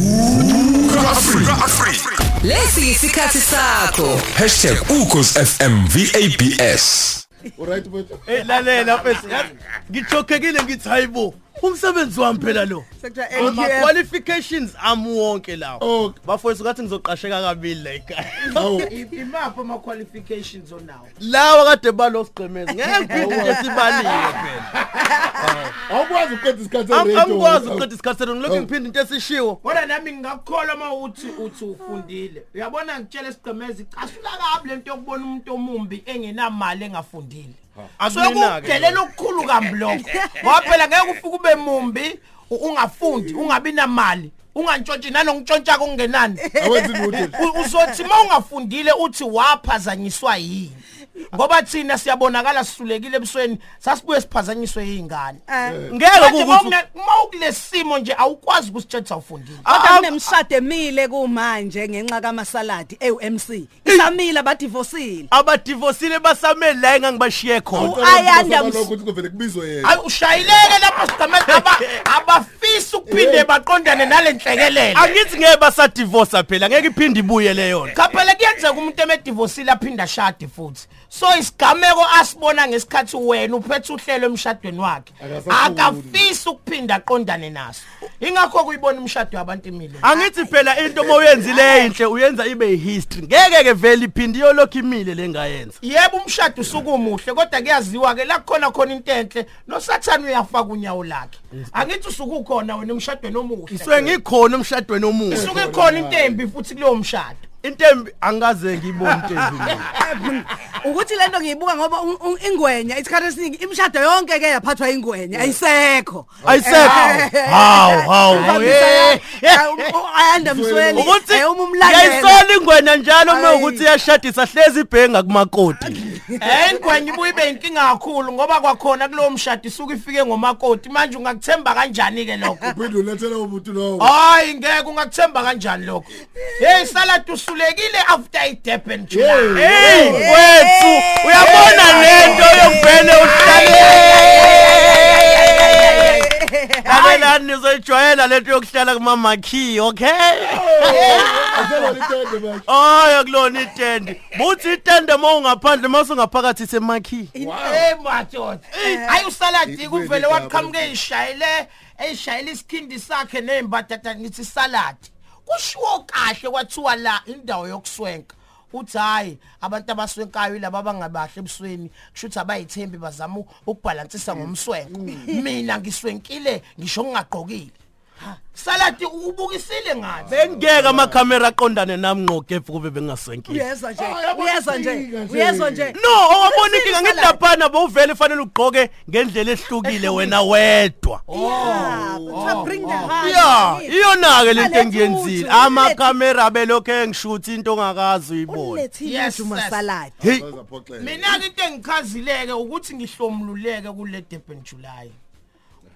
Vuka Afrika Afrika Lesi isikhathi sakho. #ukuzfm VABS Alright but Hey lalela mfethu ngichokekile ngithi hayibo umsebenzi wami phela lo eh, ama qualifications am wonke lawo Okay. bafowethu kathi ngizoqasheka kabili la ekhaya awu imaphi ama-qualifications onawo lawa kade balosigqemeza ngeke ngiphinde nje sibalile phela awukwazi ukuqeda isikhathi Am- radio. angikwazi ukuqeda isikhathi senu ngilokhu Oh. ngiphinde into esishiwo kodwa nami ngingakukholwa uma uthi uthi ufundile uyabona ngitshela isigqemezi casula kabi lento yokubona umuntu omumbi engenamali engafundile Akuninaki. sokudelela okukhulu kambi lokho ngoba phela ngeke ufike ube mumbi u- ungafundi ungabi namali ungantshontshi nanokutshontsha kungenani Awenzi lutho. U- uzothi uma ungafundile uthi waphazanyiswa yini ngoba thina siyabonakala sihlulekile ebusweni sasibuye siphazanyiswe yingane Eh. ngeke Manje uma kuwukuthi une- uma ukulesimo nje awukwazi ukusitshela ufundile kodwa kunemshado emile kumanje ngenxa kamasaladi eUMC isamila badivosile abadivosile basamele la engangibashiye khona Ucabanga Ayanda ukuthi Ms- lokhu ukuthi kuvele kubizwe yena. Ay ushayileke lapho sigamela aba abafisa ukuphinde baqondane nalenhlekelele. angithi ngeke basadivosa phela ngeke iphinde ibuye leyo nto. Kaphela kuyenzeka umuntu emedivosile aphinda ashade futhi. So isigameko asibona ngesikhathi wena uphethe uhlelo emshadweni wakhe. Akasafuni. Akafisi ukuphinda aqondane naso. Ingakho kuyibona umshado wabantu imile. angithi phela into mowuyenzile enhle uyenza ibe history ngeke ke vele iphindi yolokhu imile lengayenza Yebo umshado usukumuhle kodwa kuyaziwa ke la khona khona into enhle nosathana uyafa kunyawo lakhe. Angithi usukukhona wena emshadweni omuhle. isuke ngikhona emshadweni omuhle Isuke khona into embi futhi kulowo mshado. intembi angikaze ngiyibone intembi mina. ukuthi lento ngiyibuka ngoba u- u- ingwenya isikhathi esiningi imshado yonke ke yaphathwa ingwenya ayisekho ayisekho hawu hawu eh. ayanda msweni ukuthi eh, uma umlandela yayisola ingwena njalo uma Ayi. ukuthi iyashadisa hlezi ibhenga kumakoti Eh ingwenya ibuye ibe inkinga kakhulu ngoba kwakhona kulowo mshado isuka ifike ngomakoti manje ungakuthemba kanjani ke lokho? Uphinde ulethele umuntu lowo. Hayi ngeke ungakuthemba kanjani lokho. Hey salad usulekile after iDurban July. hey wethu uyabona lento yokubhele uhlalela Abelani nizoyijwayela lento yokuhlala kuma marquee okay Aselo lithende manje. Aya kulona itende. Buthi itende mawungaphandle mawusungaphakathi semakhi. Hey madod. Hayi usalad kuvele igama. waqhamuke ishayile eshayile isikhindi sakhe nezimbatata ngithi salad. Kushiwo kahle kwathiwa la indawo yokuswenka. uthi hayi abantu abaswenkayo laba bangabahle ebusweni kusho ukuthi abayithembi bazama ukubhalansisa ngomswenko mina ngiswenkile ngisho ngingagqokile Ha, saladi ubukisile ngathi Bengeke amakamera aqondane nami ngqo gefu kube bengasenkile. uyezwa nje Hayi, yabo, uyezwa nje inkinga nje. uyezwa nje No, owabona Usini inkinga salad? ngidaphana bowuvele fanele ugqoke ngendlela ehlukile wena wedwa. Yeah, kuthiwa bring the heart. Yeah, Ngithi, iyona ke lento ulethe engiyenzile. uju, Amakamera belokho engishuthe into ongakazi uyibona. ulethile Yes, uju yes. masaladi Hey, Bazaphoxela. mina into engichazileke ukuthi ngihlomululeke kule Durban July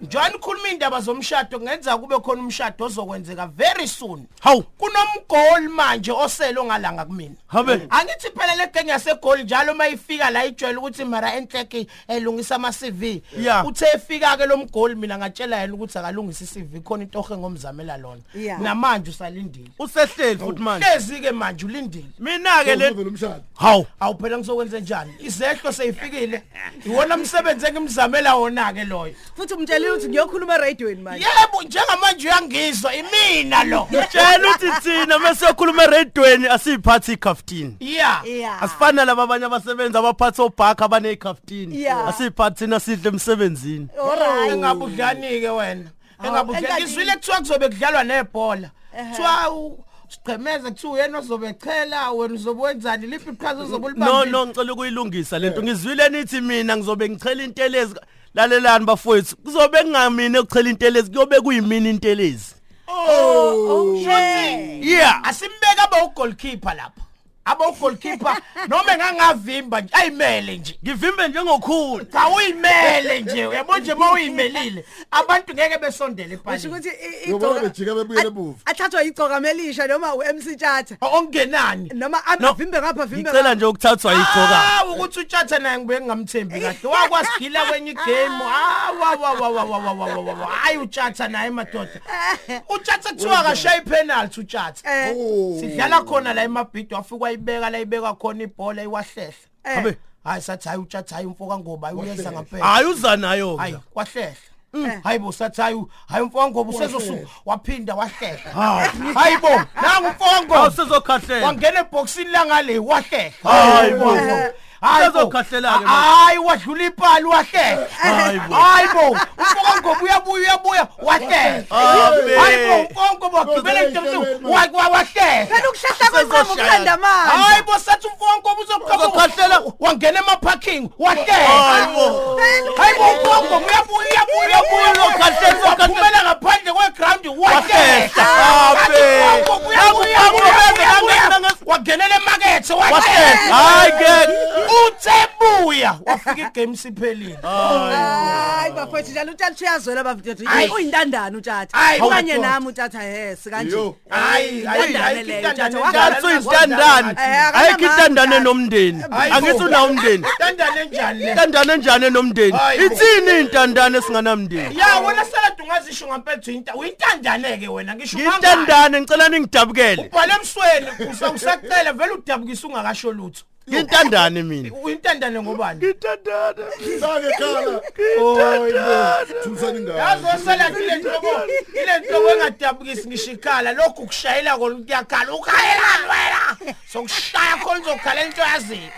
Njani khuluma indaba zomshado kungenzeka kube khona umshado ozokwenzeka very soon hawu, kunomgoli manje oselo ngalanga kumina Habe. angithi phela le gang yasegoli njalo mayifika la ijwayele ukuthi mara enhleke elungisa ama CV Yeah. uthe efika ke lo mgoli mina ngatshela yena ukuthi akalungisa i CV khona into ohle ngomzamela lona Yeah. namanje usalindile usehleli futhi manje. hlezi ke manje ulindile Mina ke le Uvele umshado. hawu. awu phela ngisokwenze njani izehlo seyifikile iwona umsebenzi engimzamela wona ke loyo futhi umtshelile ukuthi ngiyokhuluma eradioweni manje yebo njengamanje uyangizwa imina lo Tshela uthi thina mase ukhuluma eradweni asiyiphathi ikaftini. yeah yeah Ah. Asifani nalabo abanye abasebenzi abaphathi obhakha abanekhafutini. Yeah. Asiphathi thina sidle emsebenzini. Oh, alright engabudlani ke wena engabudlani engathi- ngizwile kuthiwa kuzobe kudlalwa nebhola kuthiwa u- sigqemeze kuthiwa uyena ozobe chela wena uzobe wenzani liphi iqhaza uzobe No ulibambile no ngicela ukuyilungisa lento. Ngizwile nithi mina ngizobe ngichela intelezi. Lalelani bafowethu. Kuzobe kungamina ukuchela intelezi kuyobe kuyimina intelezi. okay Oh, Yeah. asimbeke abe ugoalkeeper lapha abo goalkeeper noma engangavimba nje ayimele nje ngivimbe njengokhulu kawuyimele nje uyabo nje mawuyimelile abantu ngeke besondele usho epalini ukuthi i- Yobona igcoka- bejika bebuye a- emuva. athathwa igcoka melisha noma u-mc tshata okungenani noma No, avimbe ngapha vimbe ngicela nje ukuthathwa igcoka Ah, ukuthi utshatha naye ngibe ngingamthembi kahle wakwasigila kwenye igame hayi utshatha naye madoda utshatha kuthiwa akashaya ipenalty utshatha Eh. Oh. sidlala khona la emabhidi wafika wayibeka la ibeka khona ibhola iwahlehla Eh. Abe. hayi sathi hayi utshatha hayi umfoka ngoba hayi uyeza ngaphela hayi uza nayo hayi kwahlehla Mm. Eh. hayi bo sathi hayi hayi umfoka ngoba usezosuku waphinda wahlehla Ah. hayi bo nangu umfoka ngoba awusezokhahlela wangena ebhokisini langale wahlehla Hayi bo. Hayi bo. Usezokhahlela-ke manje. hayi wadlula ipali wahlehla Hayi bo. hayi bo ufokangoba uyabuya uyabuya wahlehla Abe. hayi bo ufokangoba wagibela Kodwa emthemsu wahlehla phela ukuhlahla kwenqamo kulanda manje hayi bo sathi ufokangoba uzokhahlela wangena emaparking Hayi bo. wahlehla hayi bo ufokangoba uyabuya uyabuya uyabuya Uzokhahlela, uzokhahlela. waphumela ngaphandle kweground wahlehla Abe. ufokangoba uyabuya uyabuya uyabuya wangenela emakethe wahlehla hayi ke uthe buya wafika igame siphelile hayi bafowethu njalo utshata uyazwela bafowethu Ayi. uyintandane utshata Ayi, okanye bafowethu. nami utshata yes kanje Yo. hayi hayi Intandane hayi leyo, intandane Tata. njalo, Kanti uyintandane. Eh, akanamali Ayikho intandane utata. nomndeni. Hayi bo. Angithi unawo umndeni. intandane njani le Intandane njani nomndeni? Hayi bo. Ithini intandane singanamndeni? ya wena salad ungazisho ngampethu inta uyintandane ke wena ngisho mangani Intandane ngicela ningidabukele. ubhale emsweni usa- usacela vele udabukisa ungakasho lutho Intandane mina. uyintandane ngobani Intandane. Zange khala. Thusani yazi ngalo. osalad ile nhloko ile nhloko engadabukisi ngisho ikhala lokhu kushayela kona kuyakhala ukhayelani wena sokushaya khona uzokhala into yazini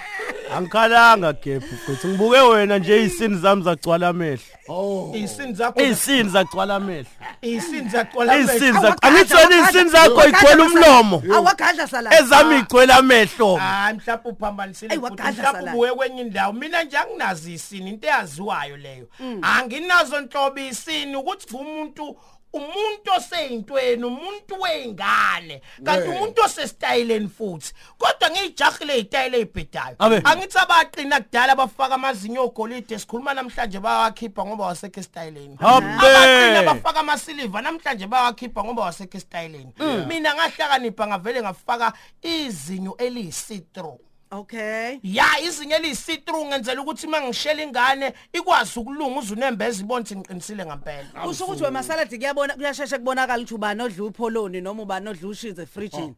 Angikhalanga gephu futhi ngibuke wena nje izini zami zagcwala amehlo. Oh. isini zakho Izini zagcwala amehlo. isini zagcwala Izini Awagadla, zakho. Angithi wena awagadla. izini zakho igcwele Awagadla, umlomo. awagadla salala Ezami igcwele amehlo. hayi Ah, mhlawumbe Ayi, uphambanisile futhi wagadla mhlawumbe salad. ubuye kwenye indawo mina nje anginazi isini into eyaziwayo leyo anginazo nhlobo isini ukuthi umuntu umuntu oseyintweni umuntu weyingane kanti Yeah. umuntu osesitayileni futhi kodwa ngiyijahile izitayile ezibhedayo Abe. angithi abaqina kudala bafaka amazinyo ogolide sikhuluma namhlanje bayawakhipha ngoba wasekho esitayileni abaqina Abe. bafaka amasiliva namhlanje bayawakhipha ngoba wasekho esitayileni mina ngahlakanipha ngavele ngafaka izinyo eliyisitro okay ya izinyo eliyisitro ngenzela ukuthi uma ngishela ingane ikwazi ukulunga uzunembe ezibona ukuthi ngiqinisile ngempela usho ukuthi wemasaladi kuyabona kuyasheshe kubonakala ukuthi ubani odla upholoni noma ubani odla ushize efrijini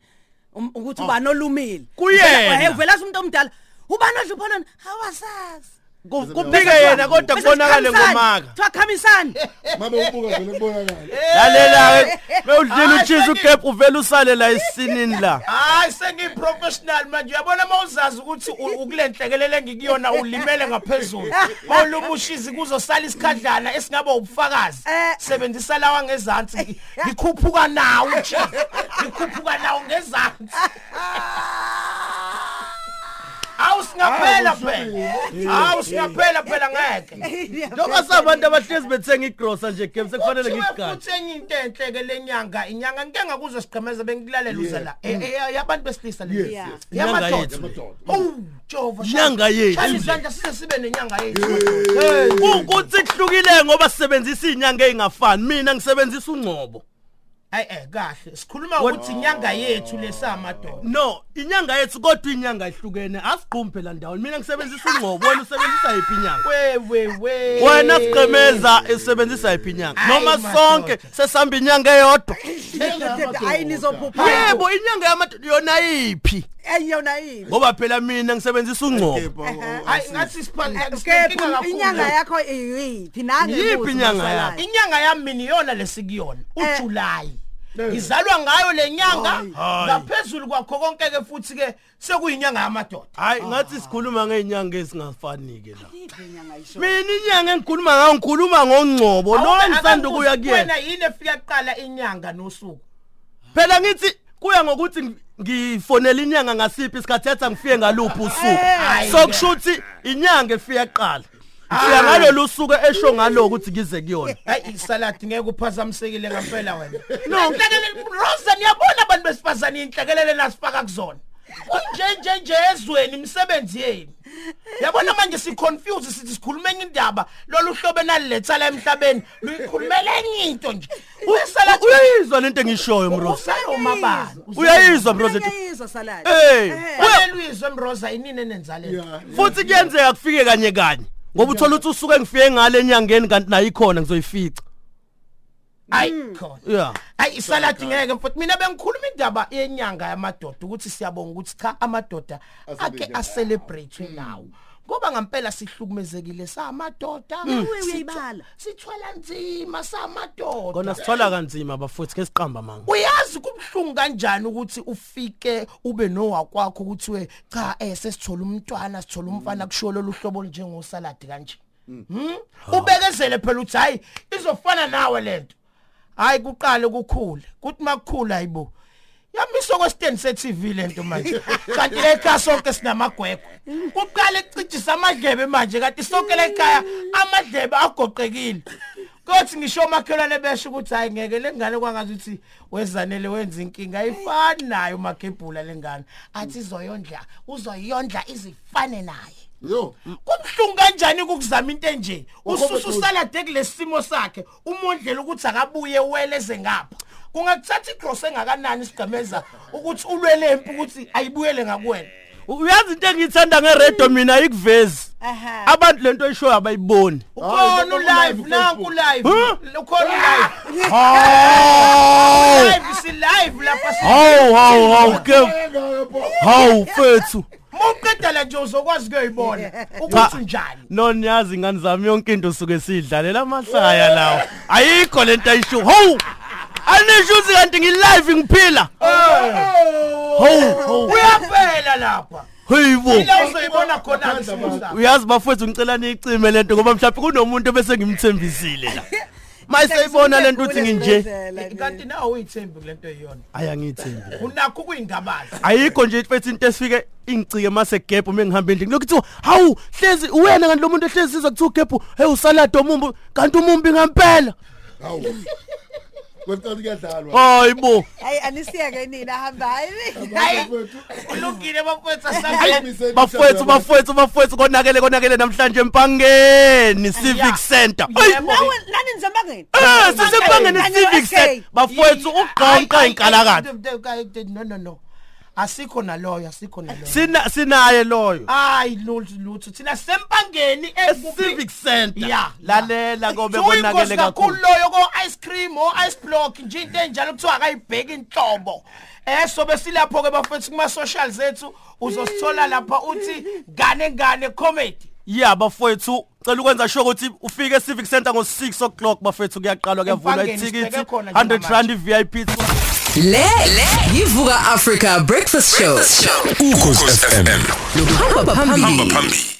Um- ukuthi ubani olumile Ah. Kuyena. Uvela- eh, uvela umuntu omdala ubani odla upholoni hawasazi Ku- Kubike yena kodwa kubonakale ngomaka. twakhamisani Mabe ubuka vele kubonakala. lalela bewudlile Hayi, ucheese ugap uvela usale la isinini la hayi sengiyiprofessional manje uyabona uma uzazi ukuthi u- ukulenhlekelele engikuyona ulimele ngaphezulu mawulumushizi kuzosala isikhadlana esingabe ubufakazi Eh. sebenzisa lawa ngezansi Ngi- ngikhuphuka nawo chief ngikhuphuka nawo ngezansi awusingaphela phela awusingaphela phela ngeke njengoba sabantu abahlezi bethenga igrosa nje game sekufanele Kuthiwe ngikugade futhi enye into enhle ke lenyanga inyanga ngike ngakuzo sigqemeza bengikulalela uza la Eh, eh, eh, yabantu besilisa Yes, le Yeah. yes. Inyanga yamadoda yethu. Madoda. Oh, Jova. Inyanga yethu. Shani isandla sise sibe nenyanga yethu. Hey. ukuthi kuhlukile ngoba sisebenzisa izinyanga ezingafani mina ngisebenzisa ungqobo Ay eh kahle. Sikhuluma ukuthi inyanga yethu lesamadoda. no inyanga yethu kodwa inyanga ihlukene asigqumi phela ndawo mina ngisebenzisa ungqobo wena usebenzisa yiphi inyanga We we we. wena sigqemeza isebenzisa yiphi inyanga Hayi, noma madoda. sonke sesihamba inyanga eyodwa hayi nizophupha yebo inyanga yamadoda yona yiphi eyona yini ngoba phela mina ngisebenzisa ungqobo Kepha, oh, Ay ngathi eh, siphanda Eh, kepha Mm. inyanga yakho iyiphi nange Yiphi buzo inyanga masala. yakho? Inyanga yami niyona lesikuyona Eh. uJuly. Izalwa ngayo lenyanga Hayi. ngaphezulu kwakho konke ke futhi ke sekuyinyanga yamadoda. hayi ngathi sikhuluma ngeenyanga ezingafani ke la Yiphi inyanga yisho mina inyanga engikhuluma ngayo ngikhuluma ngongcobo lo Awube- engisanda ukuya akangibuzi kuyena Wena yini efika kuqala inyanga nosuku? phela ngithi kuya ngokuthi ngi- ngifonela inyanga ngasiphi isikhathi etha ngifike ngaluphi usuku Hayi. sokusho ukuthi inyanga efika kuqala ngifika ngalolu usuku esho ngalo ukuthi ngize kuyona hayi isaladi ngeke uphazamisekile ngempela wena No. no rosen yabona abantu besifazane inhlekelele nasifaka kuzona kunjenje nje ezweni imisebenzi yenu yabona manje siconfuse sithi sikhulumeni indaba lolu hlobo enaliletha la emhlabeni luyikhulumela enye into nje uyisala uyayizwa lento engishoyo mroza usayo mabani uyayizwa mroza Ngiyayizwa salad. Hey. Ehhe. uyelwizwe mroza inini enenzalela futhi kuyenzeka kufike kanye kanye ngoba uthola ukuthi usuke ngifike ngale enyangeni kanti nayo ikhona ngizoyifica hayi khona yeah hayi isaladi ngeke mfowethu mina bengikhuluma indaba yenyanga yamadoda ukuthi siyabonga ukuthi cha amadoda ake acelebrate nawo ngoba ngempela sihlukumezekile samadoda Uwe uyayibala. sithwala nzima samadoda kona sithola kanzima bafuthi ke siqamba manga uyazi kubhlungu kanjani ukuthi ufike ube nowakwakho ukuthi we cha eh sesithola umntwana sithola umfana kushiwo lolu hlobo njengosaladi kanje mhm ubekezele phela uthi hayi izofana nawe lento hayi kuqale kukhule kuthi makukhula ayibo yamiso kwesitendi se-TV lento manje kanti le khaya sonke sinamagwegwe kuqale kucijisa amadlebe manje kanti sonke le khaya amadlebe agoqekile kothi ngisho omakhelwane besho ukuthi hayi ngeke le ngane kwangazi ukuthi wezanele wenza inkinga ayifani nayo umagebhula le ngane athi izoyondla uzoyondla izifane naye Yo. kubuhlungu kanjani ukuzama into enje Wakhomba ususa eduze. usalade kulesimo sakhe umondlela ukuthi akabuye weleze ngapha kungakuthatha igross engakanani isigqemeza ukuthi ulwele impi ukuthi ayibuyele ngakuwena uyazi into engiyithanda ngeredo mina ikuvezi Ehhe. abantu lento eshoyo abayiboni Hayi, ukhona lokho ulive ku-live nanku live Huh? ukhona ulive live si live lapha si hawu hawu hawu ke Ngeke bo. hawu fethu mawuqedela nje uzokwazi kuyibona ukuthi Cha. unjani noniyazi ingane zami yonke into suke siyidlalela amahlaya lawo ayikho lento ayisho hawu anisho ukuthi kanti ngilive ngiphila hawu hawu uyaphela lapha heyibo ila uzoyibona khona isimo uyazi bafowethu ngicela niyicime lento ngoba mhlawumbe kunomuntu obese ngimthembisile la mayiseyibona lento uthi nginje sakho kanti nawe uyithembi kule nto eyiyona ayi angiyithembi unakho ukuyingabaza ayikho nje mfethu into esifike ingicike mase gebhu mengihambe endlini lokhu kuthiwa hawu hlezi wena kanti lo muntu ehlezi siza kuthiwa gebhu hey usalade omumbi kanti umumbi ngempela Hawu. Kwenza kuyadlalwa. hayibo Hayi anisiyeke nina hamba hayi. hayi ulungile bafowethu asabe Hayi, bafowethu bafowethu bafowethu konakele konakele namhlanje empangeni civic center Ayi, Yebo. Nawe lana nizambangeni. eh, sisempangeni civic center bafowethu ugqanqa inkalakatha inkalakatha no no no asikho naloyo asikho naloyo sina sinaye loyo hayi lutho lutho thina sempangeni e-civic center Yeah. lalela kobe Uyinkosi konakele kakhulu kakhulu loyo ko-ice cream o-ice block nje into enjalo kuthiwa akayibheki inhlobo um sobe silapho-ke bafethu kuma-socials ethu uzosithola lapha uthi ngane ngane comedy ya bafowethu cela ukwenza sure ukuthi ufike e-civic center ngo-6 o'clock bafowethu kuyaqalwa kuyavulwa Empangeni, ithikithi sibheke khona 100 njengamanje. rand i-vip Le le yivuka Africa Breakfast Show. Ukhosi FM. Hamba phambili. Hamba phambili.